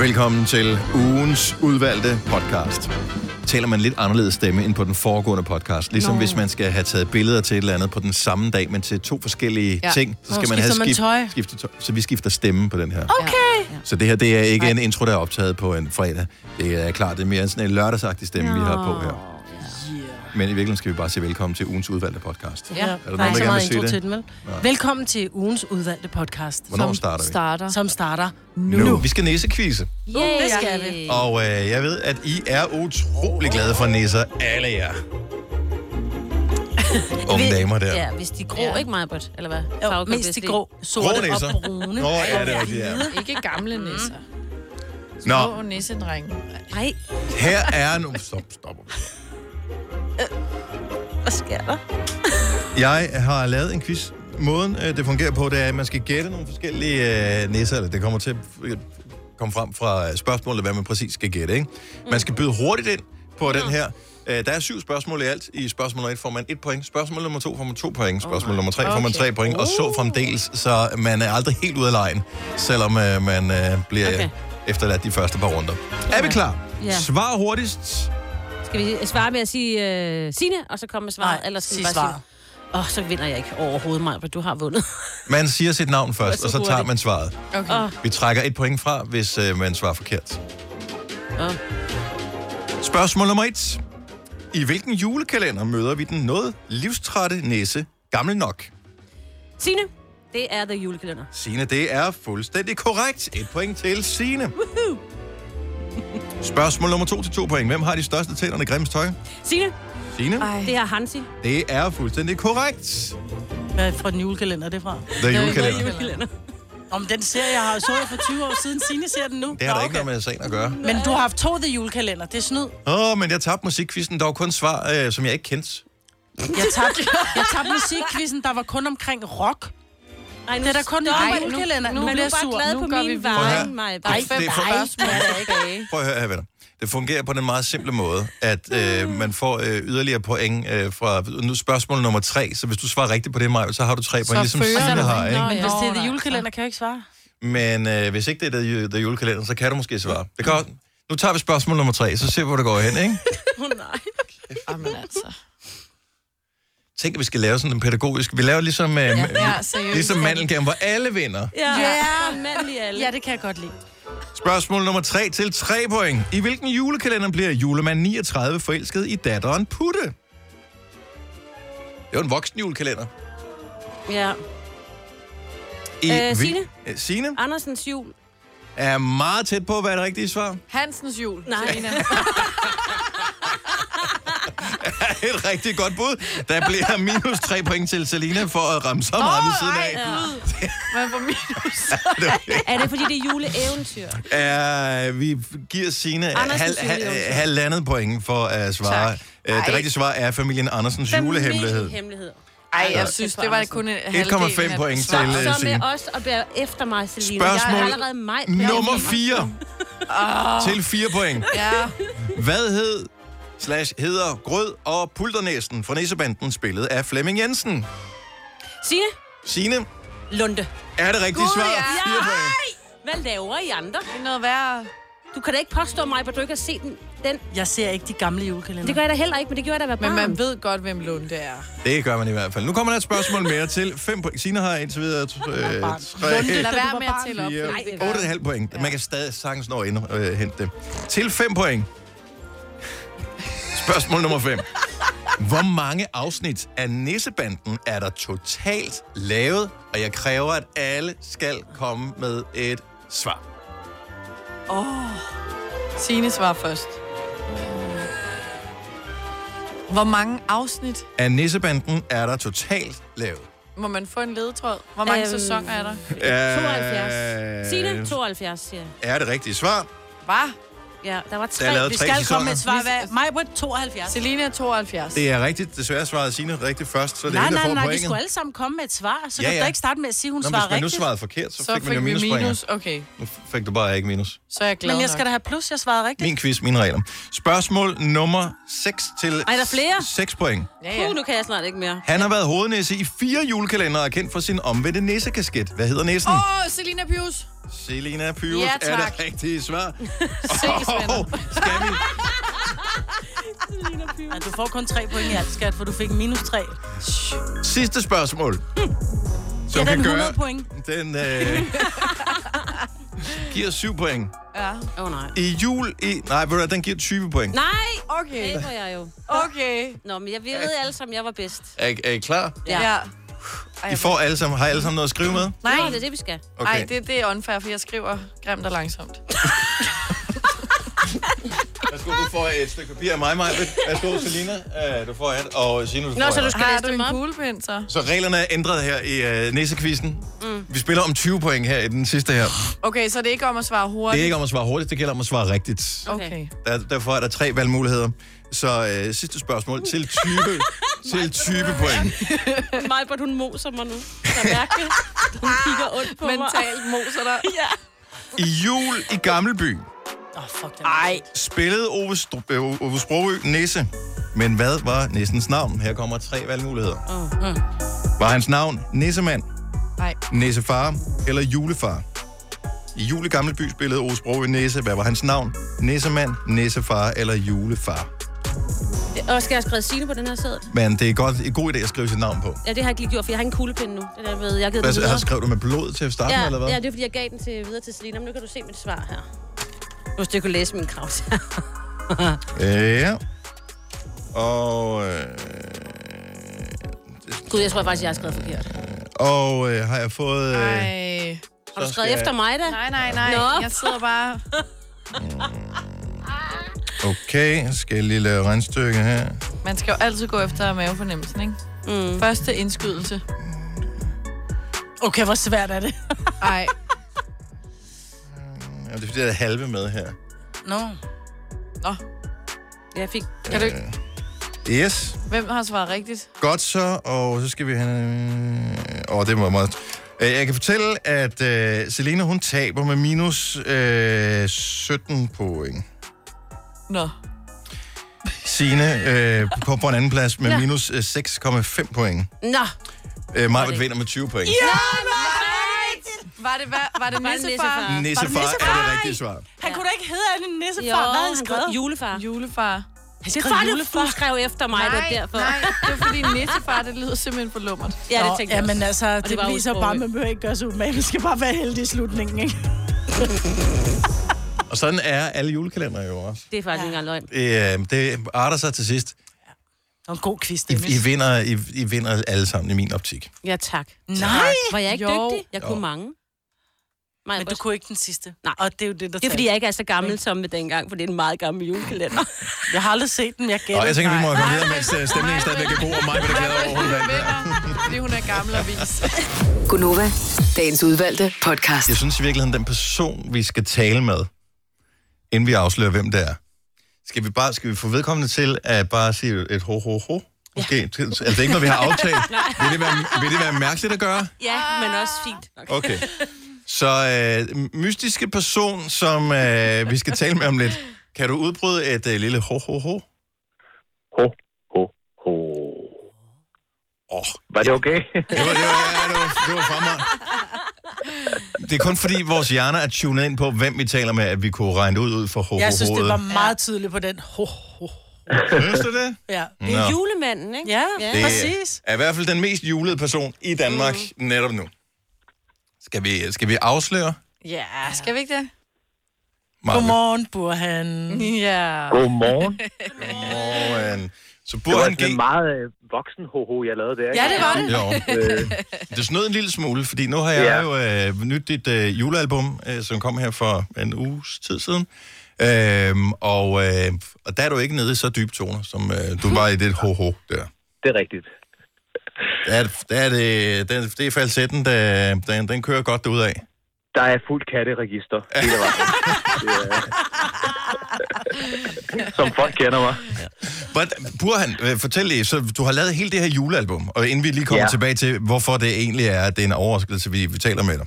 Velkommen til ugens udvalgte podcast. Taler man lidt anderledes stemme end på den foregående podcast. Ligesom Nå. Nå. hvis man skal have taget billeder til et eller andet på den samme dag, men til to forskellige ja. Ja. ting, så Nå, skal man have skifter man tøj? skiftet tøj. Så vi skifter stemme på den her. Okay. Så det her, det er ikke en intro, der er optaget på en fredag. Det er klart, det er mere sådan en lørdagsagtig stemme, vi har på her. Men i virkeligheden skal vi bare sige velkommen til ugens udvalgte podcast. Er Ja, der nogen, der der er gerne så vil meget sige intro det? til den, vel? Velkommen til ugens udvalgte podcast. Hvornår starter vi? starter. Som starter nu. Nu. Vi skal næsekvise. Uh, det skal vi. Og øh, jeg ved, at I er utrolig glade for nisser, alle jer. Unge damer der. Ja, hvis de er grå, ja. ikke mig, Britt? Eller hvad? Jo, mest de grå, sorte Grå nisser. og brune. Nå, ja, det er rigtigt, ja. Ikke gamle nisser. Nå, Små nissedreng. Nej, her er nu... Stop, stop. hvad sker der? Jeg har lavet en quiz. Måden, øh, det fungerer på, det er, at man skal gætte nogle forskellige øh, nisser. Eller det kommer til at øh, komme frem fra øh, spørgsmålet, hvad man præcis skal gætte. Ikke? Man skal byde hurtigt ind på den her. Øh, der er syv spørgsmål i alt. I spørgsmål nummer et får man et point. Spørgsmål nummer to får man to point. Spørgsmål nummer tre får man tre point. Og Oh. så fremdeles, så man er aldrig helt ude af lejen, selvom øh, man øh, bliver okay. Okay. efterladt de første par runder. Er vi klar? Ja. Svar hurtigst. Skal vi svare med at sige uh, Sine, og så komme med svaret? Nej, eller skal vi sig bare svaret. sige... Åh, oh, så vinder jeg ikke overhovedet mig, for du har vundet. Man siger sit navn først, så og så tager hurtigt. man svaret. Okay. Ah. Åh. Vi trækker et point fra, hvis øh, man svarer forkert. Åh. Spørgsmål nummer et. I hvilken julekalender møder vi den noget livstrætte næse gammel nok? Sine, det er The Julekalender. Sine, det er fuldstændig korrekt. Et point til Sine. Spørgsmål nummer to til to point. Hvem har de største tænderne i Grimms tøj? Sine, Sine, det er Hansi. det er fuldstændig korrekt. Hvad er fra den julekalender, det er fra? The The julekalender. Julekalender. Om den serie, jeg har så jeg for 20 år siden. Signe ser den nu. Det har Nå, da ikke okay. noget med sagen at gøre. Men du har haft to The Julekalender, det er snyd. Åh, oh, men jeg tabte musikquizzen. Der var kun svar, øh, som jeg ikke kendte. Jeg tabte, jeg tabte musikkvisten, der var kun omkring rock. Ej, nu Det er da kun stop. en Ej, julekalender. Nu, nu, Nu nu er bliver du bare jeg sur. glad Nu på gør vi min videre. Prøv at vejen, høre. mig. Det- det er for- Okay. Prøv at høre her, venner. Det fungerer på den meget simple måde, at øh, man får øh, yderligere point øh, fra nu spørgsmål nummer tre. Så hvis du svarer rigtigt på det, Maja, så har du tre point, ligesom fører Signe du. har. Ikke? Nå, Men ja. hvis det er Nå, The nej. Julekalender, kan jeg ikke svare. Men øh, hvis ikke det er der, der julekalender, så kan du måske svare. Det kan, også- nu tager vi spørgsmål nummer tre, så ser vi, hvor det går hen. Ikke? Jamen altså. Tænk, at vi skal lave sådan en pædagogisk... Vi laver ligesom, øh, ja, Ja, seriøst. ligesom mandelgaven, hvor alle vinder. Ja, Ja. som mand i alle. Ja, det kan jeg godt lide. Spørgsmål nummer tre til tre point. I hvilken julekalender bliver julemand 39 forelsket i datteren Putte? Det er jo en voksen julekalender. ja. I Øh, hvil- Signe? Øh, Signe Andersens jul. er meget tæt på, hvad er det rigtige svar? Hansens jul. Nej. Selina. Et rigtig godt bud. Der bliver minus tre point til Selina for at ramme så meget ved siden af. Hvad var minus? Er det, fordi det er juleeventyr? Uh, vi giver Signe Andersens hal, hal, julehemmelighed. halvandet point for at svare. Uh, det rigtige svar er familien Andersens julehemmelighed. Hemmelighed. Ej, jeg synes, det var kun en halvdel. 1,5 af- point Svar. til øh, Så Signe. med os og bær efter mig, Selina. Spørgsmål Jeg er allerede mig. Nummer 4. Til 4 point. Ja. Hvad hed slash hedder Grød og Pulternæsen fra Nissebanden spillet af Flemming Jensen? Signe, Signe, Lunde. er det rigtige Gud, svar? ja. Fire point. Hvad laver I andre? Det er noget værre. Du kan da ikke påstå mig, at du ikke har set den. den. Jeg ser ikke de gamle julekalender. Det gør jeg da heller ikke, men det gjorde jeg da være Men barn. man ved godt, hvem Lunde er. Det gør man i hvert fald. Nu kommer der et spørgsmål mere til 5 point. Signe har indtil videre øh, barn. 3, Lad Lunde, Da du være var med at barn. tælle op. Fire. fordi det gør- 8,5 point. Man kan stadig sagtens nå at ind- øh, hente det. Til 5 point. Spørgsmål nummer 5. Hvor mange afsnit af Nissebanden er der totalt lavet? Og jeg kræver, at alle skal komme med et svar. Signe svarer først. Hvor mange afsnit Af Nissebanden er der totalt lavet. må man få en ledetråd? Hvor mange Øhm. sæsoner er der? 72. Signe, 72, siger jeg. Øh, Er det rigtige svar? Hvad? Ja, der var tre. Der er lavet Vi tre skal komme med sæsoner. et svar. Hvad? Majbrit 72. Selina er 72. Det er rigtigt. Desværre svarede Signe rigtigt først, så det er Nej, hende, der nej, får nej, vi pointet. skulle alle sammen komme med et svar. Så Ja, ja, kan du ja. da ikke starte med at sige, at hun Nå, men svarer hvis man nu rigtigt. svarede forkert, så, så fik man jo minus, minus. Okay, Nu fik du bare ikke minus. så er jeg glad Men jeg skal da have plus, jeg svarede rigtigt. Min quiz, mine regler. Spørgsmål nummer 6 til Ej, der er flere. 6 point. Ja, ja. Puh, nu kan jeg snart ikke mere. Han har været hovednæse i fire julekalendere og er kendt for sin omvendte næsekasket. Hvad hedder næsen? Åh, oh, Selina Pius. Selena Pyrus Ja, er tak. det rigtige svar. Se, Svend. skal vi? Ja, du får kun tre point i alt, skat, for du fik minus tre. Sidste spørgsmål. Som den 100 point. Den øh, giver 7 point. Ja. Åh, oh, nej. I jul i... Nej, ved du hvad, den giver 20 point. Nej! Okay. Det var jeg jo. Okay. Nå, men jeg vi ved alle sammen, jeg var bedst. Er, I- er I klar? Ja. ja. I får alle sammen, har I alle sammen noget at skrive med? Nej, Nå, det er det, vi skal. okay. Ej, det, det er unfair, for jeg skriver grimt og langsomt. Værsgo, du får et stykke papir af mig, Maja. Værsgo, Selina. Øh, du får et, og Signe, du Nå, får så et. du skal Har læse du dem en op. kuglepind, så? Så reglerne er ændret her i øh, næsekvisten. Mm. Vi spiller om 20 point her i den sidste her. Okay, så det er ikke om at svare Det er hurtigt? ikke om at svare hurtigt, det gælder om at svare rigtigt. Okay. Der, derfor er der tre valgmuligheder. Så øh, sidste spørgsmål til 20, til 20 point. Majbert, hun moser mig nu. Jeg mærker det. Hun kigger ondt på Mentalt moser dig. Ja. I jul i Gammelby Åh, oh, fuck den. Ej. spillede Ove, Stru- øh, Ove Sprogø Nisse. Men hvad var Nissens navn? Her kommer tre valgmuligheder. Mm, Var hans navn Nissemand, Nej. Nissefar eller Julefar? I jul i Gammelby spillede Ove Sprogø Nisse. Hvad var hans navn? Nissemand, Nissefar eller Julefar? Og skal jeg skrive Signe på den her sæde? Men det er godt, en god idé at skrive sit navn på. Ja, det har jeg ikke lige gjort, for jeg har en kuglepind nu. Den er ved, jeg har givet den Hvad, videre. har skrevet du med blod til at starte med, eller hvad? Ja, ja, det er fordi, jeg gav den til, videre til Selina, men nu kan du se mit svar her. Hvis du kunne læse min krav. Ja. Og, øh, Gud, jeg tror faktisk, jeg har skrevet forkert. og øh, har jeg fået... Øh, Ej. Har du skrevet Så skal efter jeg- mig, da? Nej, nej, nej. Nå. Jeg sidder bare... okay, skal jeg lige lave regnstykke her. Man skal jo altid gå efter mavefornemmelsen, ikke? Mm. Første indskydelse. Okay, hvor svært er det? Ej. Ja, det er fordi, jeg er halve med her. Nå. Nå. Jeg fik... Kan du ikke... Øh, Yes, Hvem har svaret rigtigt? godt så. Og så skal vi have... øh, Åh, oh, det var meget... Øh, Jeg kan fortælle, at øh, Selena, hun taber med minus øh, 17 point. Nå. Signe øh, kommer på en anden plads med Ja. minus øh, 6,5 point. Nå! Øh, Marvind vinder med 20 point. Var det, hvad, var det Var det nissefar? nissefar? Nissefar Var det er det rigtige svar. Han kunne da ikke hedde Anne Nisse Jo, for, hvad havde han han skrevet? skrev julefar. Mm. Julefar. Det er fordi, du- du skrev efter mig, det er derfor. nej, det var fordi nissefar, det lyder simpelthen for lummert. Ja, det Nå, tænkte jeg Jamen også. altså, det, det var det viser jo udsprunget. bare, at man behøver ikke gøre sig umage. Vi skal bare være heldige i slutningen, ikke? Og sådan er alle julekalendere jo også. Det er faktisk ikke engang løgn. Det, øh, det arter sig til sidst. Og en god quiz, I, Dennis. I, vinder, I, I vinder alle sammen i min optik. Ja, tak. Nej! Var jeg ikke Jo. dygtig? Jeg kunne Jo. mange. Nej, Men du kunne ikke den sidste. Nej. Og det er jo det, der Det er fordi, jeg ikke er så gammel som med dengang, for det er en meget gammel julekalender. tager. Jeg har aldrig set den, jeg gætter. Og jeg tænker, vi må komme videre, mens øh, stemningen stadigvæk er god, og mig vil det glæde over, hun vandt. Fordi hun er gammel og vis. Gunova, dagens udvalgte podcast. Jeg synes i virkeligheden, den person, vi skal tale med, inden vi afslører, hvem det er, skal vi bare skal vi få vedkommende til at bare sige et ho, ho, ho? Måske. Ja. Altså, det er ikke noget, vi har aftalt. vil, det være, vil det være mærkeligt at gøre? ja, men også fint. Okay. Så øh, mystiske person, som øh, vi skal tale med om lidt. Kan du udbryde et øh, lille ho-ho-ho? Ho, ho, ho. Åh, Var det okay? Oh. det var, det var, ja, det var, det var fra mig. Det er kun fordi, vores hjerner er tunet ind på, hvem vi taler med, at vi kunne regne det ud, ud for ho ho Jeg synes, det var meget tydeligt på den. Ho, ho. Synes du det? Ja. Det er julemanden, ikke? Ja, Ja. ja. Det- præcis. Er i hvert fald den mest julede person i Danmark mm. netop nu. Skal vi, skal vi afsløre? Ja, skal vi ikke det? Marvin? Godmorgen, Burhan. Ja. Godmorgen. Godmorgen. Så Det var burde han sådan en give... meget øh, voksen ho-ho, jeg lavede der. Ja, det var det. Jo. Øh, Det snød en lille smule, fordi nu har jeg ja. jo øh, nyt dit øh, julealbum, øh, som kom her for en uges tid siden. Øhm, og, øh, og der er du ikke nede i så dybe toner, som øh, du var i det ho-ho der. det er rigtigt. Der er, der er det, den, det er falsetten, der, den, den kører godt ud af. Der er fuldt katteregister hele vejen. Det er- Som folk kender mig. But, Burhan, øh, fortæl lige, så du har lavet hele det her julealbum, og inden vi lige kommer ja. Ja. tilbage til, hvorfor det egentlig er, at det er en overraskelse, vi, vi taler med dig.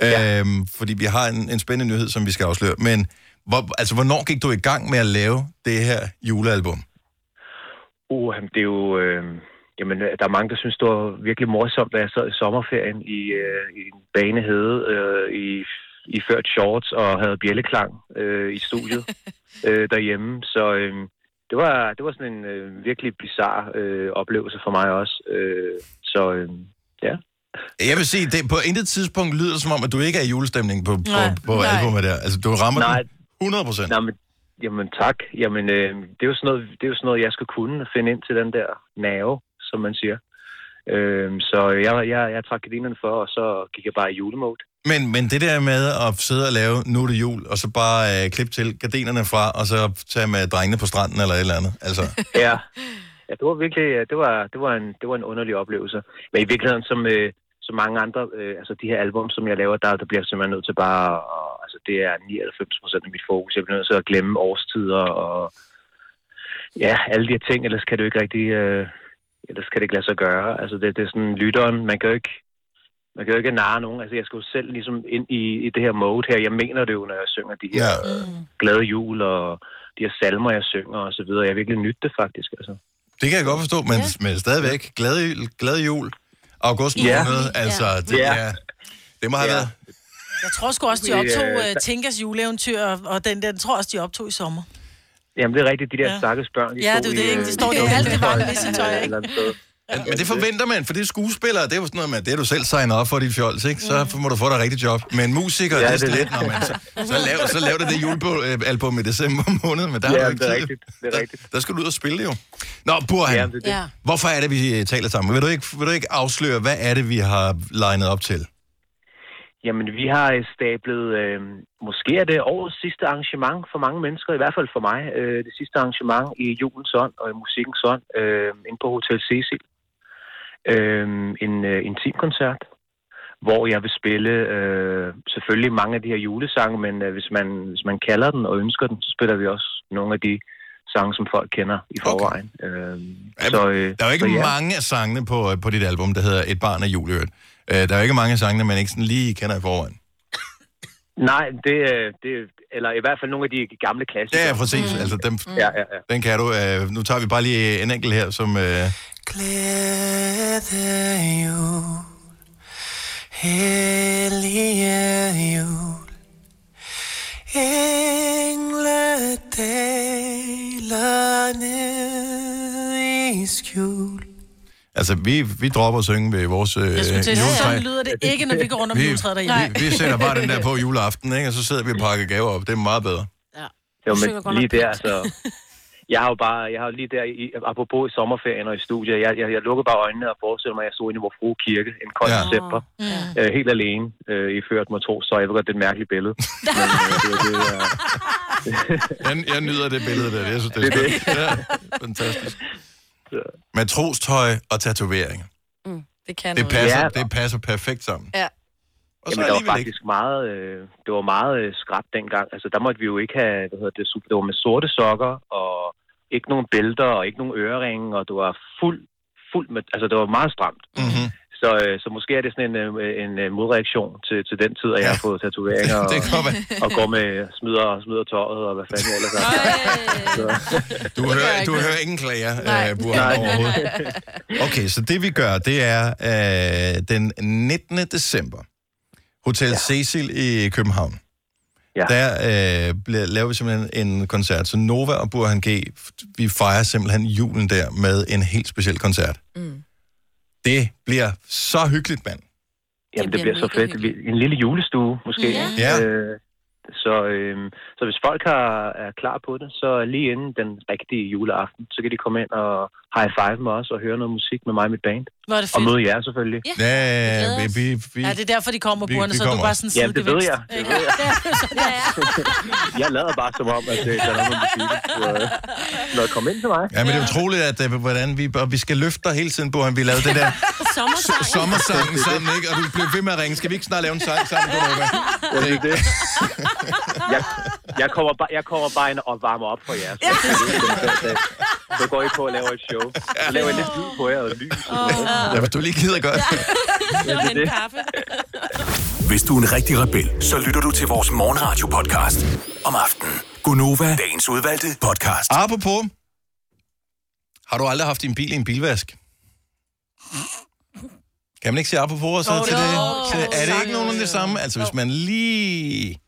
Ja. Ja. Øhm, fordi vi har en, en spændende nyhed, som vi skal afsløre. Men hvor, altså, hvornår gik du i gang med at lave det her julealbum? Uh, jamen, det er jo... Øh, jamen, der er mange, der synes, det var virkelig morsomt, da jeg sad i sommerferien i, øh, i en banehede øh, i iført shorts og havde bjælleklang øh, i studiet øh, derhjemme. Så øh, det, var, det var sådan en øh, virkelig bizarre øh, oplevelse for mig også. Øh, så øh, ja. Jeg vil sige, det på intet tidspunkt lyder det som om, at du ikke er i julestemning på, på, Nej, på nej. albumet der. Altså, du rammer Nej. den 100 procent. Nå, men, jamen tak. Jamen, øh, det, er jo sådan noget, det er jo sådan noget, jeg skal kunne finde ind til den der nerve, som man siger. Øh, så jeg, jeg, jeg trak gardinerne for, og så gik jeg bare i julemode. Men, men det der med at sidde og lave Nu er det jul, og så bare øh, klippe til gardinerne fra, og så tage med drengene på stranden eller et eller andet. Altså, Ja. ja, det var virkelig ja, det var, det var, en, det var en underlig oplevelse. Men i virkeligheden, som, øh, som mange andre, øh, altså de her album, som jeg laver, der, der bliver jeg simpelthen nødt til bare, at, altså det er 99 procent af mit fokus. Jeg bliver nødt til at glemme årstider og ja, alle de her ting, ellers kan det jo ikke rigtig, øh, ellers kan det ikke lade sig gøre. Altså det, det er sådan lytteren, man kan jo ikke, man kan jo ikke narre nogen. Altså jeg skal jo selv ligesom ind i, i det her mode her. Jeg mener det jo, når jeg synger de her ja. glade jul og de her salmer, jeg synger og så videre. Jeg har virkelig nyt det faktisk, altså. Det kan jeg godt forstå, men, ja. men stadigvæk. Glad jul. Glad jul. August Ja. måned, altså. Det, Ja. ja. det må have Ja. været. Jeg tror sgu også, de Det, optog øh, uh, Tinkas juleeventyr, og og den der, den tror jeg også, de optog i sommer. Jamen, det er rigtigt, de der Ja. ja. stakkels børn, de Ja, stod det er i, det, ikke? De øh, står jo i alt det varme et nissetøj, ikke? eller andet sted. Men det forventer man, for det er skuespillere, det er jo sådan noget med, det er du selv signet op for dit fjols, ikke? Så må du få dig rigtig job. Men musikere, Ja, ja, det er det er slet, det. når man så, så, lav, så lav det det julealbum i december måned, men der har Ja, du det ikke er tid. rigtigt, det er rigtigt. Der, der skal du ud og spille jo. Nå, Burhan, Jamen, det er det. Ja. hvorfor er det, vi øh, taler sammen? Vil du ikke, vil du ikke afsløre, hvad er det, vi har legnet op til? Jamen, vi har øh, stablet, øh, måske er det årets sidste arrangement for mange mennesker, i hvert fald for mig, øh, det sidste arrangement i julens ånd og i musikkens ånd, øh, inde på Hotel Cecil. Øh, en øh, intimkoncert, hvor jeg vil spille øh, selvfølgelig mange af de her julesange, men øh, hvis, man, hvis man kalder den og ønsker den, så spiller vi også nogle af de sange, som folk kender i forvejen. Øh, Jamen, øh, Der er jo ikke så ja. ja. mange af sangene på, øh, på dit album, der hedder Et barn af jul i øvrigt. Øh, Der er jo ikke mange af sangene, man ikke sådan lige kender i forvejen. Nej, det, øh, det, eller i hvert fald nogle af de gamle klassikere. Ja, præcis. Mm. Altså, dem, Ja, ja, ja. Den kan du. Øh, nu tager vi bare lige en enkelt her, som... Øh, Glæde jul, hellige jul, engle daler ned i skjul. altså, vi, vi dropper at synge ved vores øh, Jeg skulle til, at sige, juletræ. sådan lyder det ikke, når vi går rundt om Vi, juletræet derhjemme. vi, vi sætter bare den der på juleaften, ikke? og så sidder vi og pakker gaver op. Det er meget bedre. Jo, Du men synger godt lige nok der, pænt. altså... Jeg har jo bare, jeg har jo lige der, i, apropos i sommerferien og i studiet, jeg, jeg, jeg lukker bare øjnene og forestiller mig, at jeg stod inde i vores frue kirke en kold Ja. ja. december, Ja. øh, helt alene, øh, i ført mig tro, så jeg ved godt, det er et mærkeligt billede. Men, øh, det, er det, øh, Jeg, jeg nyder det billede der. Jeg synes, det er Det er skønt. Ja, fantastisk. Matrostøj og tatoveringer. Det kan Det noget. passer, Ja. det passer perfekt sammen. Ja. Og så jamen, der var alligevel ikke. faktisk meget, øh, det var meget øh, skrabt dengang. Altså, der måtte vi jo ikke have, hvad hedder det, su- det var med sorte sokker, og ikke nogen bælter, og ikke nogen øreringe, og det var fuld, fuld med, altså det var meget stramt. Mm-hmm. Så, øh, så måske er det sådan en, øh, en øh, modreaktion til, til den tid, at jeg har fået tatoveringer og, Det kan godt være. og går med smider, smider tøjet og hvad fanden jeg ellers har. Øh, Du hører, jeg du ikke. hører ingen klager, Nej. uh, Burhan, overhovedet. Okay, så det vi gør, det er øh, den 19. december. Hotel ja. Cecil i København. Ja. Ja. Der øh, bliver- laver vi simpelthen en koncert. Så Nova og Burhan G, f- vi fejrer simpelthen julen der med en helt speciel koncert. Mm. Det bliver så hyggeligt, mand. Jamen, det bliver så fedt. Vi- En lille julestue, måske. Ja. Øh, så, øh, så hvis folk har, er klar på det, så lige inden den rigtige juleaften, så kan de komme ind og high five med os og høre noget musik med mig og mit band. Hvor er det Og fedt. møde jer selvfølgelig. Ja, Ja, glæder vi, vi, vi, Ja, det er derfor, de kommer Vi- burene, vi så du kommer. bare sådan Jamen, det ved sidegevinst. jeg. Det ved jeg. jeg lader bare som om, at øh, der er noget med musik. Så, øh, når kom ind til mig. ja, men det er utroligt, at, øh, hvordan vi, og vi skal løfte dig hele tiden, Burhan. Vi lavede det der Sommersang. sommersangen sammen, ikke? Og du bliver ved med at ringe. Skal vi ikke snart lave en sang sammen, Gunova? Ja, det er det. Jeg, jeg, kommer bare, jeg kommer bare ind og varmer op for jer. Så, så, så går I på og laver et show. Så laver jeg lidt lyd på jer og lys. Og sådan noget. Ja, hvis du lige gider godt. Hvis du er en rigtig rebel, så lytter du til vores morgenradio-podcast om aftenen. Gunova, dagens udvalgte podcast. Apropos, har du aldrig haft din bil i en bilvask? Kan man ikke sige apropos og så Jo, til jo, det? kan Så man er det ikke sagtens. nogen af det samme? Altså, hvis man lige...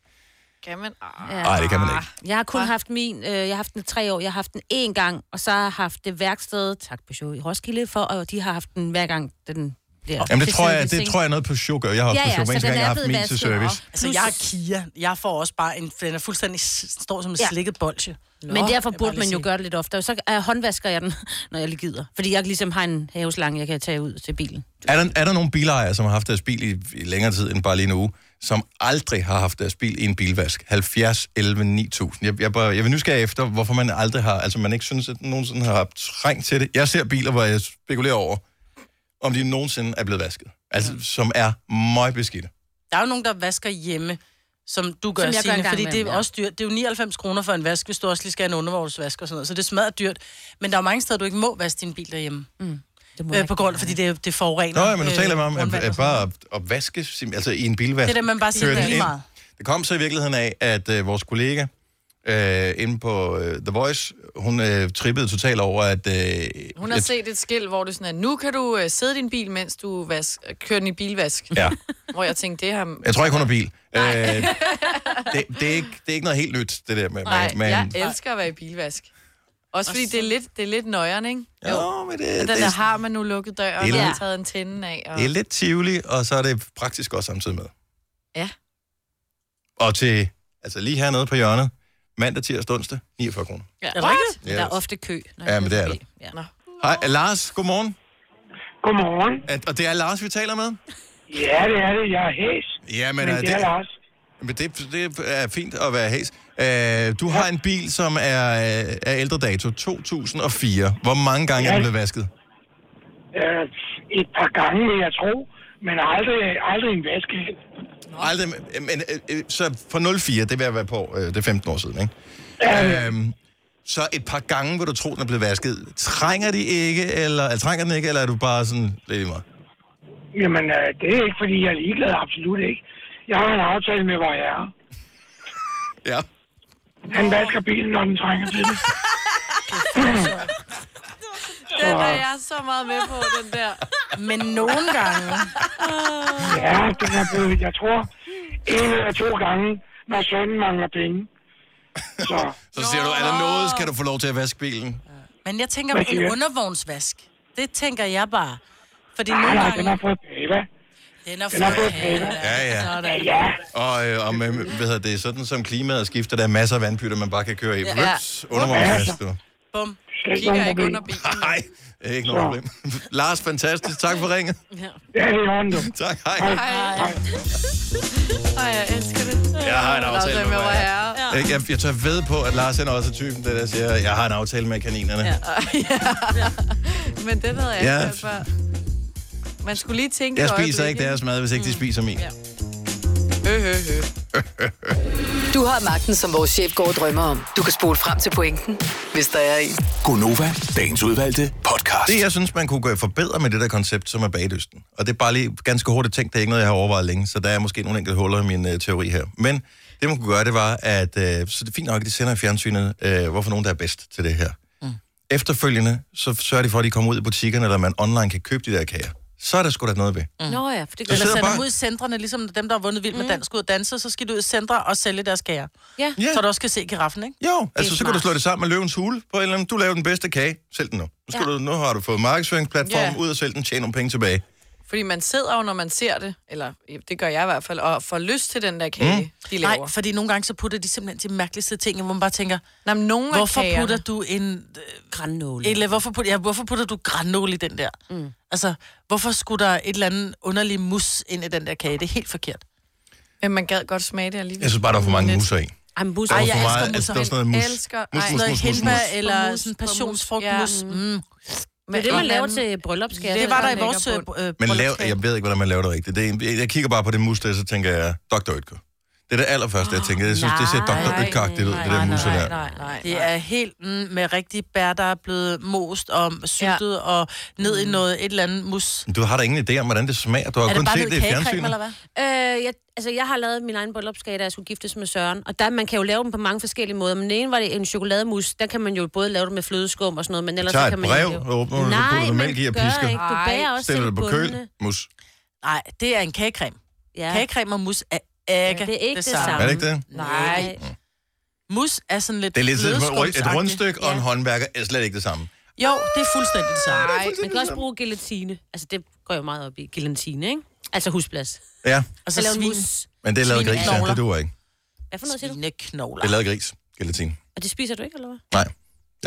Kan man? Ah. Nej, det kan man ikke. Jeg har kun Hva? haft min, øh, jeg har haft den i tre år, jeg har haft den én gang, og så har jeg haft det værksted, tak på show i Roskilde, for, og de har haft den hver gang, den bliver... Jamen, det tror til jeg, det siden, tror jeg er noget på show gør. Jeg har også Ja, på ja, show, så men eneste den gang, jeg er har haft blevet min til vasket op. service. Altså, jeg er Kia. Jeg får også bare en... Den er fuldstændig... s- står som en Ja. slikket bolsje. Nå, Men derfor jeg bare burde lige man jo sige. gøre det lidt oftere. Så øh, håndvasker jeg den, når jeg lige gider. Fordi jeg ligesom har en haveslange, jeg kan tage ud til bilen. Er der, er der nogle bilejere, som har haft deres bil i, i længere tid end bare lige en uge, som aldrig har haft deres bil i en bilvask? 70, 11, 9000. Jeg, jeg, bare, jeg vil nysgerrig efter, hvorfor man aldrig har... Altså, man ikke synes, at den nogensinde har haft trængt til det. Jeg ser biler, hvor jeg spekulerer over, om de nogensinde er blevet vasket. Altså, som er møgbeskidte. Der er jo nogen, der vasker hjemme, som du gør, Som jeg gør Signe, en gang fordi det er imellem, jo ja. også dyrt. Det er jo 99 kroner for en vask, hvis du også lige skal have en undervognsvask og sådan noget. Så det smadrer dyrt. Men der er jo mange steder, du ikke må vaske din bil derhjemme. Mm. Det Øh, på grund, fordi det, det forurener. Nå, ja, men nu øh, taler man om at, grundvand og at sådan noget. bare at, at vaske, sim- altså i en bilvask. Det er det, man bare siger, Kører det er den lige ind. meget. Det kom så i virkeligheden af, at øh, vores kollega øh, inde på øh, The Voice, hun øh, trippede totalt over, at... Øh, Hun har at- set et skilt, hvor det sådan er, nu kan du øh, sidde i din bil, mens du vask, kører den i bilvask. Ja, Hvor jeg tænkte, det her... jeg tror ikke, hun har bil. Øh, det, det, er ikke, det er ikke noget helt nyt, det der med... Nej, med, jeg elsker at være i bilvask. Også fordi det er lidt, det er lidt nøjeren, ikke? jo, men det, det, Den der det, har man nu lukket døren, Det er og lidt- taget antennen af. Og... det er lidt tivoli, og så er det praktisk også samtidig med. Ja. Og til, altså lige hernede på hjørnet, mandag, tirsdag, onsdag, 49 kroner. Er det rigtigt? Yes. Der er ofte kø. Når Ja, jeg men kører det er forbi. Ja. Hej, øh, Lars, godmorgen. Godmorgen. At, og det er Lars, vi taler med? Ja, det er det. Jeg er hæs, Ja, men, men øh, det er Lars. Men det, det er fint at være hæs. Øh, du har en bil, som er øh, af ældre dato, 2004. Hvor mange gange er den Ja. blevet vasket? Øh, et par gange, vil jeg tro, men aldrig, aldrig en vaskehæl. Aldrig, men, øh, øh, så fra 04, det vil jeg være på, øh, det er 15 år siden, ikke? Øhm, så et par gange vil du tro, den er blevet vasket. Trænger, de ikke, eller, altså, trænger den ikke, eller er du bare sådan lidt i mig? Jamen, øh, det er ikke, fordi jeg er ligeglad. Absolut ikke. Jeg har en aftale med, hvor jeg er. Ja. Han vasker bilen, når den trænger til det. Den er jeg så meget med på, den der. Men nogle gange... Ja, den er blevet, jeg tror, en eller to gange, når sønnen mangler penge. Så Så siger du, er der noget, skal du få lov til at vaske bilen? Men jeg tænker Hvad på en siger? undervognsvask. Det tænker jeg bare. Fordi nej, nogle nej, gange... den har fået bæva. Den er Den har fået fået bæva. Ja, ja. Sådan. Ja, Og, øh, og med, hvad hedder det, sådan som klimaet skifter, der er masser af vandpytter, man bare kan køre i. Ja. Ups, undervognsvask, du. Bum. slet ikke Kigger nogen ikke problem. under bilen. Nej, det er ikke noget problem. Lars, fantastisk. Tak for ringet. Ja, det er i orden, du. Tak, hej. Ej. Ej, jeg elsker det. Jeg har en aftale med, med hvor mig jeg herre. Ja. Ikke? Jeg, jeg tør ved på, at Lars han er også er typen, der, der siger, jeg har en aftale med kaninerne. Ja. Men den havde jeg Ja. ikke hørt før. Man skulle lige tænke Jeg et spiser øjeblik, ikke deres mad, hvis ikke de spiser min. Ja. Øh, øh, øh. Du har magten, som vores chef går og drømmer om. Du kan spole frem til pointen, hvis der er en. Gonova, dagens udvalgte podcast. Det, jeg synes, man kunne gøre forbedre med det der koncept, som er baglysten. Og det er bare lige ganske hurtigt tænkt, det er ikke noget, jeg har overvejet længe, så der er måske nogle enkelte huller i min øh, teori her. Men det, man kunne gøre, det var, at øh, så det er fint nok, at de sender i fjernsynet, øh, hvorfor nogen, der er bedst til det her. Mm. Efterfølgende, så sørger de for, at de kommer ud i butikkerne, eller man online kan købe de der kager. Så er der sgu da noget ved. Mm. Nå ja, for det gør Eller sidder sender bare- dem ud i centrene, ligesom dem, der har vundet vildt med dansk ud og danse, så skal du ud i centre og sælge deres kager. Mm. Ja. Ja. Så du også kan se giraffen, ikke? Jo, altså så kan du smart. slå det sammen med løvens hule på en eller anden. Du laver den bedste kage, sælg den nu. Nu, skal ja. du, nu har du fået markedsføringsplatform, Ja. ud og sælg den, tjene nogle penge tilbage. Fordi man sidder jo, når man ser det, eller det gør jeg i hvert fald, og får lyst til den der kage, mm. de laver. Nej, fordi nogle gange så putter de simpelthen de mærkeligste ting, hvor man bare tænker, Nej, men nogle hvorfor af kagerne, putter du en... Grannåle. Eller hvorfor putter, ja, hvorfor putter du granol i den der? Mm. Altså, hvorfor skulle der et eller andet underlig mus ind i den der kage? Det er helt forkert. men man gad godt smage det alligevel. Jeg synes bare, der er for mange Lidt. musser i. Ej, men Der busser. var Ej, for jeg meget, altså, der elsker var musser. sådan noget mus. Elsker- Mus, Ej, mus, Noget mus, mus, henbær mus. eller Mus, sådan mus, passionsfrugtmus. ja. Mm. Det er det, man Men- laver til bryllup, skal jeg Det sige. Det var er der i lækker vores øh, bund. br- øh, Men lav, bryllupskage. jeg ved ikke, hvordan man laver det rigtigt. Det er, en- jeg kigger bare på det mus der, så tænker jeg, Dr. Ytker. Det er det allerførste, jeg tænker. Jeg synes, det ser Dr. Ah, nej, Ødkagtigt ud, det der nej, muse nej, der. Nej, nej, Det er helt mm, med rigtige bær, der er blevet most og syltet ja. og ned Mm. i noget, et eller andet mus. Men Du har da ingen idé om, hvordan det smager. Du har er kun det bare set noget det i kagecreme, fjernsynet. eller hvad? Øh, jeg, altså, jeg har lavet min egen bryllupsgave, da jeg skulle giftes med Søren. Og der, man kan jo lave dem på mange forskellige måder. Men den ene var det en chokolademus. Der kan man jo både lave det med flødeskum og sådan noget, men Du ellers tager så kan et man brev, ikke lave- og åbner det, så Nej, putter du man mælk i og gør pisker. ikke. Du bager også Stiller selv det på køl, bundene. mus. Nej, det er en kagecreme. Ja. Kagecreme og mus er ikke, Ja, det er ikke det samme. Er det ikke det? Nej. Mus er sådan lidt Det er lidt sådan et- et flødeskumsagtigt. rundstykke, og en Ja. håndværker er slet ikke det samme. Jo, det er fuldstændig det samme. Nej, Man kan også bruge gelatine. Altså, det går jo meget op i gelatine, ikke? Altså husplads. Ja, Og så Så lave en svin, mus. men det er lavet gris, ja. Svineknogler. det duer ikke. Hvad for noget siger du? Det svineknogler. er lavet gris, gelatin. Og det spiser du ikke, eller hvad? Nej,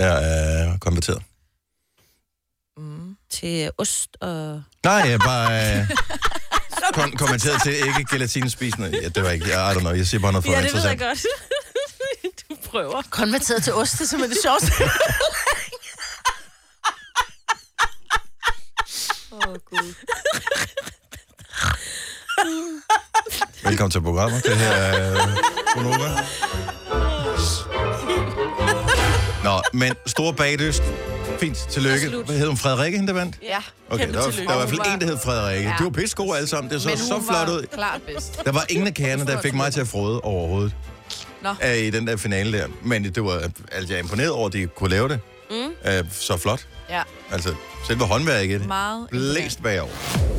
jeg er konverteret. Til ost og... Nej, jeg er bare øh, kon- kommenteret til ikke gelatinespisende. Ja, det var ikke, jeg I don't know, jeg siger bare noget for ja, interessant. godt. du prøver. Konverteret til ost, det er simpelthen det sjoveste. Velkommen til programmet. Det her øh, er Konoba. Nå, men store bagdyst. Fint, tillykke. Hvad hed hun? Frederikke, hende der vandt? Ja. Okay, Kæmpe der var, tillykke. der var i hvert Hun fald var- en, der hed Frederikke. Ja. De var pissegode alle sammen. Det så Men så hun flot var ud. klart bedst. Der var ingen af kagerne, der fik mig til at frode overhovedet. Nå. Nå. I den der finale der. Men det var, altså, jeg er imponeret over, at de kunne lave det. Mm. Øh, så flot. Ja. Altså, selve håndværket. Meget Blæst bagover.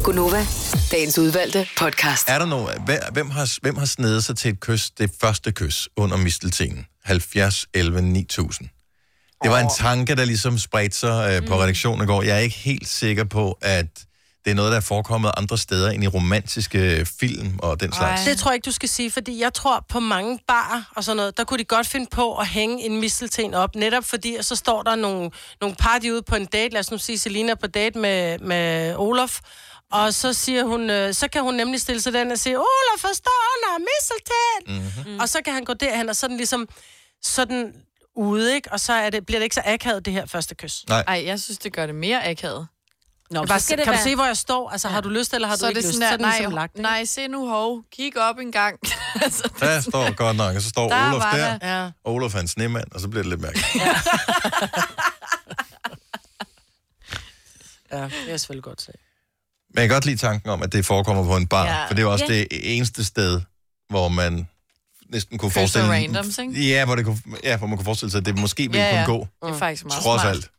Gunova, dagens udvalgte podcast. Er der nogen, hvem, hvem, har, hvem har snedet sig til et kys, det første kys under misteltenen? 70, 11, 9000. Det var en tanke, der ligesom spredte sig Mm. øh, på redaktionen i går. Jeg er ikke helt sikker på, at det er noget, der er forekommet andre steder end i romantiske øh, film og den slags. Ej. Det tror jeg ikke, du skal sige, fordi jeg tror på mange barer og sådan noget, der kunne de godt finde på at hænge en mistelten op, netop fordi, at så står der nogle, nogle party ude på en date, lad os nu sige, Selina er på date med, med Olof, og så siger hun, øh, så kan hun nemlig stille sig den og sige, Olof, forstår under mistelten? Mm-hmm. Og så kan han gå derhen, og sådan ligesom, sådan ude, ikke? Og så er det, bliver det ikke så akavet, det her første kys. Ej, jeg synes, det gør det mere akavet. Nå, Bare, så skal det kan være... du se, hvor jeg står? Altså, har du lyst, eller har så du er ikke det lyst? sådan så der, er den nej, ligesom lagt, ikke? nej, se nu, hov, kig op en gang. altså, Der står godt nok, og så står Der Olof var der, der. Ja. og Olof er en snemand, og så bliver det lidt mærkeligt. ja, det er selvfølgelig godt sagt. Men jeg kan godt lide tanken om, at det forekommer på en bar, ja. Ja. for det er også Ja. det eneste sted, hvor man næsten kunne Kysser forestille... randoms, ikke? Ja, hvor, det kunne, ja, hvor man kunne forestille sig, at det måske ville Ja, ja, ja. kunne gå, det er faktisk meget trods smart. alt.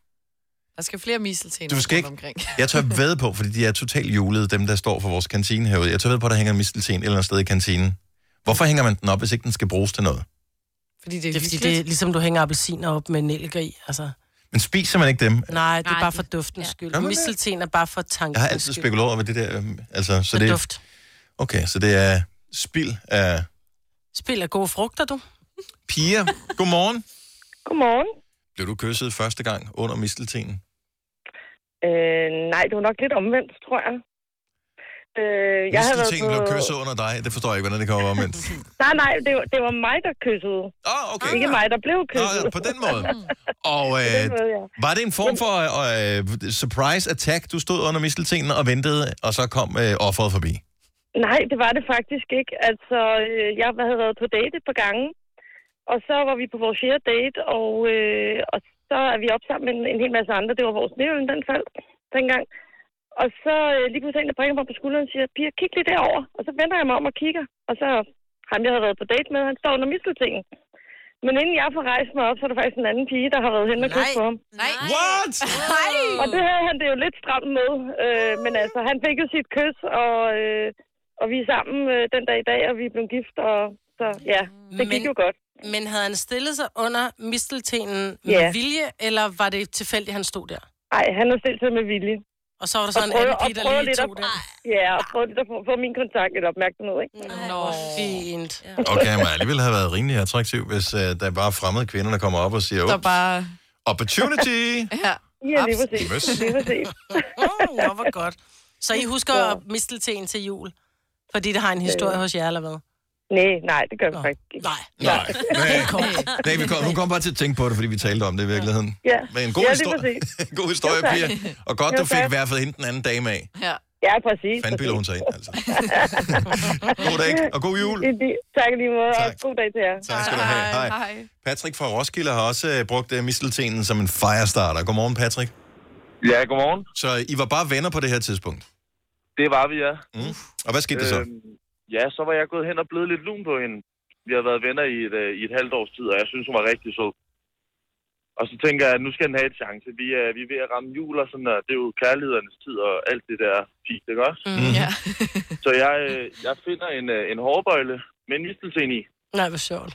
Der skal flere misteltener Du skal rundt ikke- omkring. Jeg tør ved på, fordi de er totalt julede, dem der står for vores kantine herude. Jeg tør ved på, at der hænger en mistelten et eller andet sted i kantinen. Hvorfor hænger man den op, hvis ikke den skal bruges til noget? Fordi det er, Det er fordi, det er ligesom du hænger appelsiner op med nælker i. Altså. Men spiser man ikke dem? Nej, det er Nej, bare det- for duftens ja. skyld. Gør Ja. man det? Mistelten er bare for tankens Jeg har altid skyld. spekuleret over det der. øhm, Altså, så For det, duft. okay, så det er spild af Spil af gode frugter, du. piger. Godmorgen. Godmorgen. Blev du kysset første gang under misteltenen? Øh, nej, det var nok lidt omvendt, tror jeg. Øh, jeg havde været Misteltenen på... blev kysset under dig. Det forstår jeg ikke, hvordan det kommer omvendt. Nej, nej, det var, det var mig, der kyssede. Åh, oh, okay. Ikke mig, der blev Nå, kysset. ja, på den måde. Og den øh, måde, ja. var det en form for øh, surprise attack, du stod under misteltenen og ventede, og så kom øh, offeret forbi? Nej, det var det faktisk ikke. Altså, øh, jeg havde været på date et par gange, og så var vi på vores fjerde date, og, øh, og så er vi op sammen med en, en hel masse andre. Det var vores nævn, den faldt dengang. Og så øh, lige pludselig en, der bringer mig på skulderen og siger, Pia, kig lige derover. Og så vender jeg mig om og kigger, og så ham, jeg havde været på date med, han står under misteltingen. Men inden jeg får rejst mig op, så er der faktisk en anden pige, der har været hen og kysset på ham. Nej, What? Og det havde han det jo lidt stramt med. Øh, men altså, han fik jo sit kys, og, øh, og vi er sammen øh, den dag i dag, og vi er blevet gift, og så ja, det gik Men- jo godt. Men havde han stillet sig under misteltenen med Ja. vilje, eller var det tilfældigt, han stod der? Nej, han har stillet sig med vilje. Og så var der Og sådan en prøver, anden og pige, prøver der lige lidt at, tog der. ja, og prøver lidt at få, få min kontakt lidt opmærksomhed, ikke? Mm. Nå, fint. Okay, men alligevel havde været rimelig attraktiv, hvis øh, der bare fremmede kvinder, der kommer op og siger, der "Ups, bare... opportunity! Ja. Ja, lige præcis. Møs. Lige præcis. Mm, Nå, hvor godt. Så I husker at mistelten til jul? Fordi det har en historie hos jer, eller hvad? Nej, nej, det gør vi faktisk ikke. Nej. Nej, nej, nej vi kom, hun kom bare til at tænke på det, fordi vi talte om det i virkeligheden. Ja, Men en god, ja lige historie, præcis. god historie, Jo, tak. Pia. Og godt, Jo, du fik tak. i hvert fald hende den anden dame af. Ja. Ja, præcis. Fanden piller hun sig ind, altså. god dag, og god jul. Det er det. Tak i lige måde, tak. og god dag til jer. Tak skal du have. Hej. Hej. Patrick fra Roskilde har også øh, brugt øh, misteltenen som en firestarter. Godmorgen, Patrick. Ja, godmorgen. Så I var bare venner på det her tidspunkt. Det var vi, ja. Mm. Og hvad skete der så? Øhm, ja, så var jeg gået hen og blevet lidt lun på hende. Vi har været venner i et, øh, i et halvt års tid, og jeg synes, hun var rigtig sød. Og så tænker jeg, at nu skal den have et chance. Vi er, vi er ved at ramme jul og sådan, og det er jo kærlighedernes tid og alt det der fint, ikke også? Mhm. Mm, ja. Så jeg, øh, jeg finder en, øh, en hårbøjle med en mistelten i, Nej, hvor sjovt.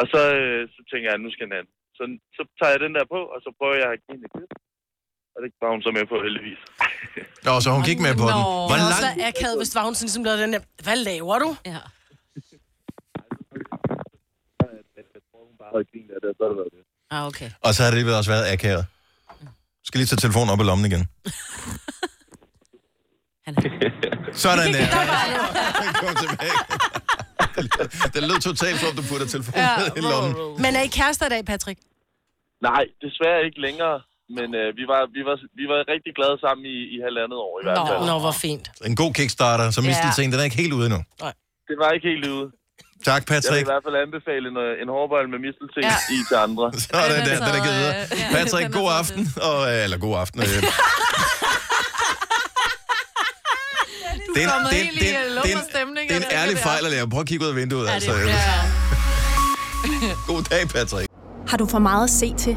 og så, øh, så tænker jeg, at nu skal den have den. Så, så tager jeg den der på, og så prøver jeg at give hende et kys. Og det var hun så med på, heldigvis. Nå, så hun gik med på den. Hvor Hvor langt... også lang... være akavet, hvis det var hun sådan, ligesom lavede den der, hvad laver du? Ja. Bare havde grinet af det, og så har det været det. Ah, okay. Og så har det også været akavet. Skal lige tage telefonen op i lommen igen. Sådan der. Kom tilbage. Det- Det lød totalt som om, du putter telefonen Ja, ned i lommen. Men er I kærester i dag, Patrick? Nej, desværre ikke længere. Men øh, vi, var, vi, var, vi var rigtig glade sammen i, i halvandet år i hvert fald. Nå, hvor fint. En god kickstarter, så Ja. mistelten, den er ikke helt ude endnu. Det var ikke helt ude. Tak, Jeg vil Patrick. i hvert fald anbefale en, øh, en hårbøjle med mistelting i til andre. Sådan der, den er givet øh, videre. Patrick, god aften. Og, øh, eller god aften. øh. Det er en- kommet det er- helt i, det er- øh, det er en- lummerstemning, Det er en eller ærlig hvad det er. fejl at lave. Prøv at kigge ud af vinduet. Altså. God dag, Patrick. Har du for meget at se til?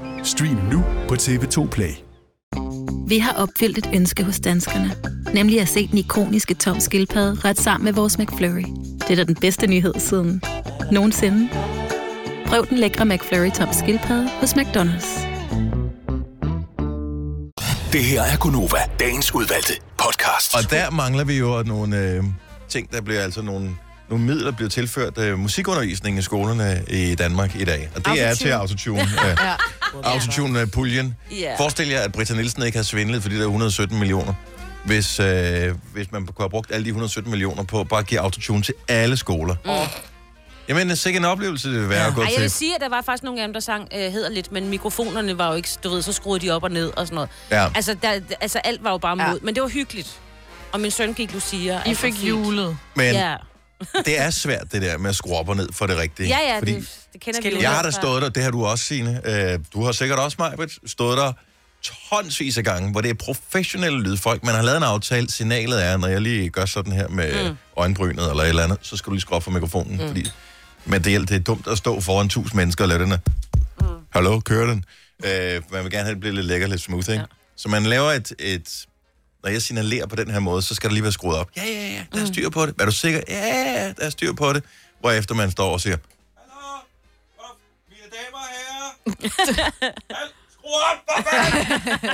Stream nu på TV2 Play. Vi har opfyldt et ønske hos danskerne. Nemlig at se den ikoniske tom skildpadde ret sammen med vores McFlurry. Det er da den bedste nyhed siden nogensinde. Prøv den lækre McFlurry tom skildpadde hos McDonald's. Det her er Gunova, dagens udvalgte podcast. Og der mangler vi jo nogle øh, ting, der bliver altså nogle, nogle midler, der bliver tilført øh, musikundervisning i skolerne i Danmark i dag. Og det er til autotune. Øh, ja. Autotune-puljen. Ja. Yeah. Forestil jer, at Britta Nielsen ikke har svindlet for de der 117 millioner. Hvis, øh, hvis man kunne have brugt alle de 117 millioner på at bare give autotune til alle skoler. Mm. Jamen, øh, sikke en oplevelse det vil være ja. at gå Ej, jeg til. vil sige, at der var faktisk nogle af dem, der sang øh, hedder lidt, men mikrofonerne var jo ikke, du ved, så skruede de op og ned og sådan noget. Ja. Altså, der, altså alt var jo bare mod, men det var hyggeligt. Og min søn gik Lucia. I fik julet. Men- Ja. Det er svært, det der med at skrue op og ned for det rigtige. ja, ja, Fordi det, det kender vi jo Jeg har godt da fra- stået der, det har du også, Signe. Øh, Du har sikkert også, Majbrit, stået der tonsvis af gange, hvor det er professionelle lydfolk. Man har lavet en aftale. Signalet er, når jeg lige gør sådan her med mm. øjenbrynet eller et eller andet, så skal du lige skrue op for mikrofonen. Mm. Fordi men det, er- det er dumt at stå foran tusind mennesker og lave den her. Mm. Hallo, kører den? Øh, man vil gerne have, det bliver lidt lækker, lidt smooth, ikke? Ja. Så man laver et, et... Når jeg signalerer på den her måde, så skal der lige være skruet op. Ja, ja, ja, der er styr på det. Er du sikker? Ja, ja, ja, der er styr på det. Hvorefter man står og siger, Skru op, for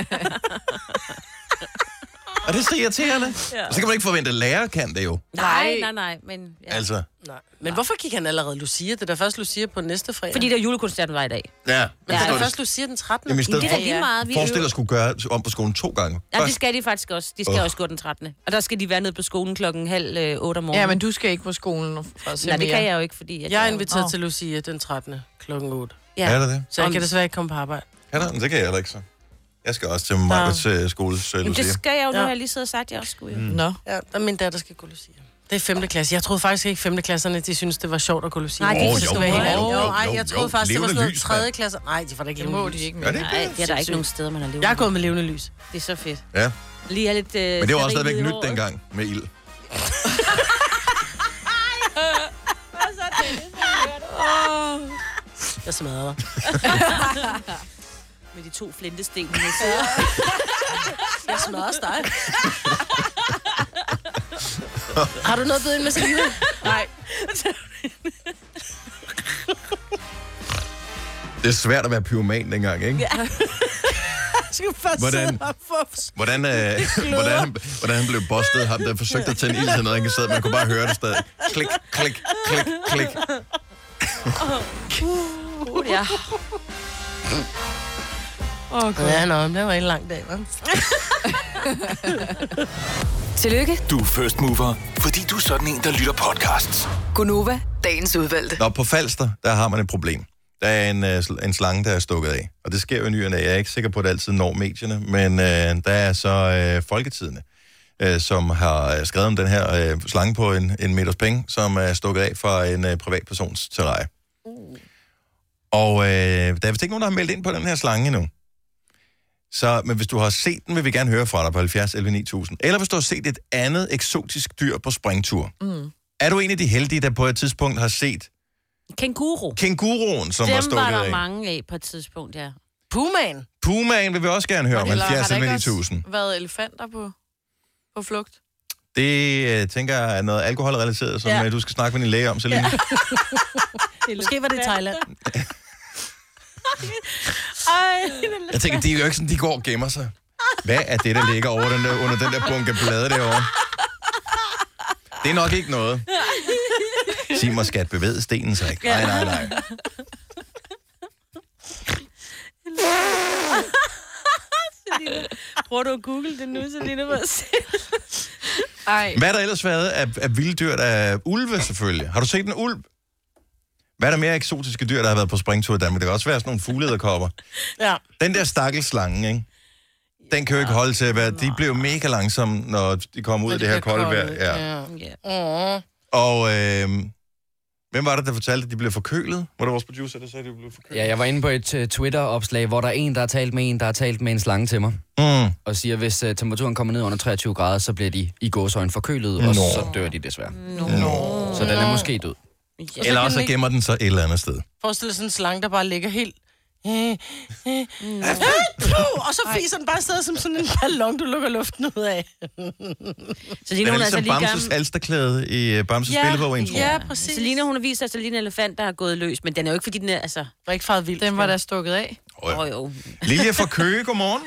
Og det er så irriterende. ja. Og så kan man ikke forvente, at lærer kan det jo. Nej, nej, nej, men... Ja. Altså, Nej. Men hvorfor gik han allerede Lucia? Det er da først Lucia på næste fredag. Fordi der julekoncerten var i dag. ja. Ja, det er det. først Lucia den 13. Jamen, i stedet for, vi forestil dig øver. at skulle gøre om på skolen to gange. Ja, det skal de faktisk også. De skal Åh. oh. også gå den 13. Og der skal de være nede på skolen klokken halv øh, 8 om morgenen. Ja, men du skal ikke på skolen for at se Nej, det mere. kan jeg jo ikke, fordi... Jeg er inviteret til Lucia den 13. klokken 8. Ja. Er der det? Så jeg kan desværre ikke komme på arbejde. Kan der? Men det kan jeg heller ikke så. Jeg skal også til Marberts øh, skole, så Jamen, Lucia. det skal jeg jo, nu Ja. har jeg lige siddet og sagt, at jeg også skulle. Mm. Nå. Ja, der er min datter, der skal gå Lucia. Det er 5. klasse. Jeg troede faktisk ikke, 5. klasserne, de synes det var sjovt at gå løbe Nej, de det synes, det var helt ærligt. Jo, Jo, ej, jeg jo, troede jo. faktisk, det var Levende sådan noget lys, 3. mand. klasse. Nej, de får da ikke Det levende må lys. de ikke Nej, mere. det er der ikke nogen steder, man har levende Jeg er gået med levende lys. Det er så fedt. Ja. Lige er lidt... Øh, Men det var også stadigvæk nyt dengang med ild. Jeg smadrer dig. Med de to flintesten, jeg sidder. Jeg smadrer også dig. Har du noget bedre end maskine? Nej. Det er svært at være pyroman dengang, ikke? Ja. Jeg skal først Hvordan- sidde og få Hvordan, øh, hvordan, hvordan han blev bustet, ham der forsøgte at tænde ild til noget, han kan sidde, man kunne bare høre det stadig. Klik, klik, klik, klik. Uh, ja. Åh, oh, Ja, nå, men det var en lang dag, hva'? Tillykke, Du er first mover, fordi du er sådan en, der lytter podcasts. Gunova, dagens udvalgte. Nå, på Falster, der har man et problem. Der er en, øh, sl- en slange, der er stukket af. Og det sker jo i nyerne. Jeg er ikke sikker på, at det altid når medierne. Men øh, der er så øh, Folketidene, øh, som har øh, skrevet om den her øh, slange på en, en meters penge, som er stukket af fra en øh, privatpersons terrarie. Og øh, der er vist ikke nogen, der har meldt ind på den her slange endnu. Så, men hvis du har set den, vil vi gerne høre fra dig på 70 11 9000. Eller hvis du har set et andet eksotisk dyr på springtur. Mm. Er du en af de heldige, der på et tidspunkt har set Kenguru. Kenguruen, som Dem var var, stukket der af. mange af på et tidspunkt, ja. Pumaen. Pumaen vil vi også gerne høre om, Eller har 70 der ikke 11 også 9000. været elefanter på, på flugt? Det øh, tænker jeg er noget alkoholrelateret, som Ja. ja. du skal snakke med din læge om, Selina. Ja. Måske var det i Thailand. Ej, Jeg tænker, de er jo ikke sådan, de går og gemmer sig. Hvad er det, der ligger over den der, under den der bunke blade derovre? Det er nok ikke noget. Sig mig, skat, bevæge stenen sig ikke. Nej, nej, nej. Selina, Prøver du at google det nu, Selina? Hvad Ej. Hvad er der ellers været af, af vilde dyr? Der er ulve, selvfølgelig. Har du set en ulv? Hvad er der mere eksotiske dyr, der har været på springtur i Danmark? Det kan også være sådan nogle fuglederkopper. Ja. Den der stakkels slange, ikke? Den kan jo ikke holde til at være... De blev mega langsomme, når de kom ud af det her kolde vejr. Ja. ja. Mm. Og øh, hvem var det, der fortalte, at de blev forkølet? Var det vores producer, der sagde, at de blev forkølet? Ja, jeg var inde på et uh, Twitter-opslag, hvor der er en, der har talt med en, der har talt med en slange til mig. Mm. Og siger, at hvis uh, temperaturen kommer ned under 23 grader, så bliver de i gåsøjne forkølet, Nå. og så dør de desværre. Nå. Så den er måske død. Ja. Mm. Eller også så gemmer den sig et eller andet sted. Forestil dig sådan en slange, der bare ligger helt... Øh, øh, øh, puh, og så fiser den bare stadig som sådan en ballon, du lukker luften ud af. så Den er ligesom Bamses alsterklæde i øh, Bamses ja. billedbog, tror jeg. præcis. Selina, hun har vist sig, at en elefant, der har gået løs, men den er jo ikke, fordi den er, altså... Var ikke farvet vildt. Den var da stukket af. Åh, ja. Åh, jo. Lilje fra Køge, godmorgen.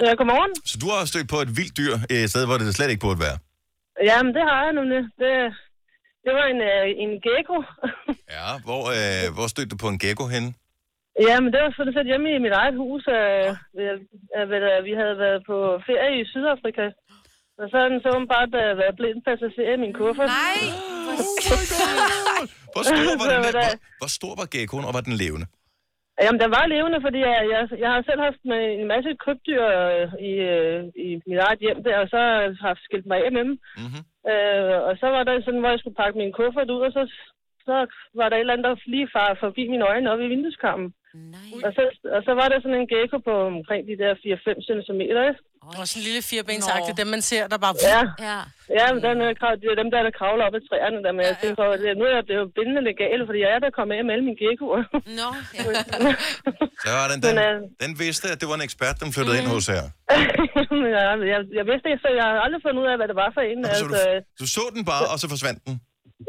Ja, godmorgen. Så du har også stødt på et vildt dyr øh, et sted, hvor det slet ikke burde være. Jamen, det har jeg nemlig. Det, det var en, øh, en gecko. Ja, hvor, øh, hvor stødte du på en gecko henne? Jamen, det var sådan set hjemme i mit eget hus. Øh, ved- øh, ved, øh, vi havde været på ferie i Sydafrika. Og så havde den så åbenbart øh, været blind passager i min kuffert. Nej! Hvor stor var, den, der, hvor, hvor stor var geckoen, og var den levende? Jamen, den var levende, fordi jeg, jeg, jeg har selv haft med en masse krybdyr øh, i, øh, i mit eget hjem der, og så har jeg skilt mig af med dem. Mm-hmm. Øh, og så var der sådan, hvor jeg skulle pakke min kuffert ud, og så, så var der et eller andet, der lige far forbi mine øjne oppe i vindueskammen. Og så, og så var der sådan en gecko på omkring de der 4-5 cm. Og sådan en lille firebensagtig, dem man ser, der bare... Ja. ja. Ja, men den, er krav- det er dem der, der kravler op ad træerne der, men jeg tænkte på, at det- nu er jeg blevet bindende legal, fordi jeg er der kommet af med alle mine geckoer. Nå, ja. Så var den, den, den vidste, at det var en ekspert, den flyttede mm-hmm. ind hos her. Men jeg, jeg, jeg vidste ikke, så jeg har aldrig fundet ud af, hvad det var for en. Så du, du så den bare, og så forsvandt den.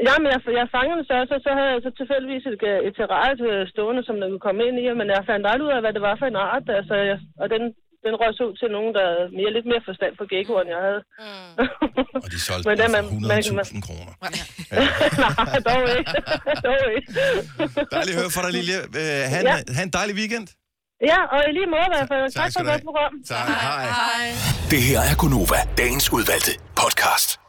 Jamen, jeg, jeg fangede den så, så, så havde jeg så tilfældigvis et, øh, et terrarie øh, stående, som den kunne komme ind i, men jeg fandt aldrig ud af, hvad det var for en art, altså, jeg, og den, den røg så ud til nogen, der havde mere, lidt mere forstand på geckoer, end jeg havde. Og de solgte Men den den for man- 100.000 kroner. Nej, dog ikke. dog ikke. Dejligt at høre fra dig, Lilje. Øh, han, ja. Ja. han en dejlig weekend. Ja, og i lige måde i hvert fald. Tak, tak tak for et skal du godt program. Tak. Hej. Det her er Gunova, dagens udvalgte podcast.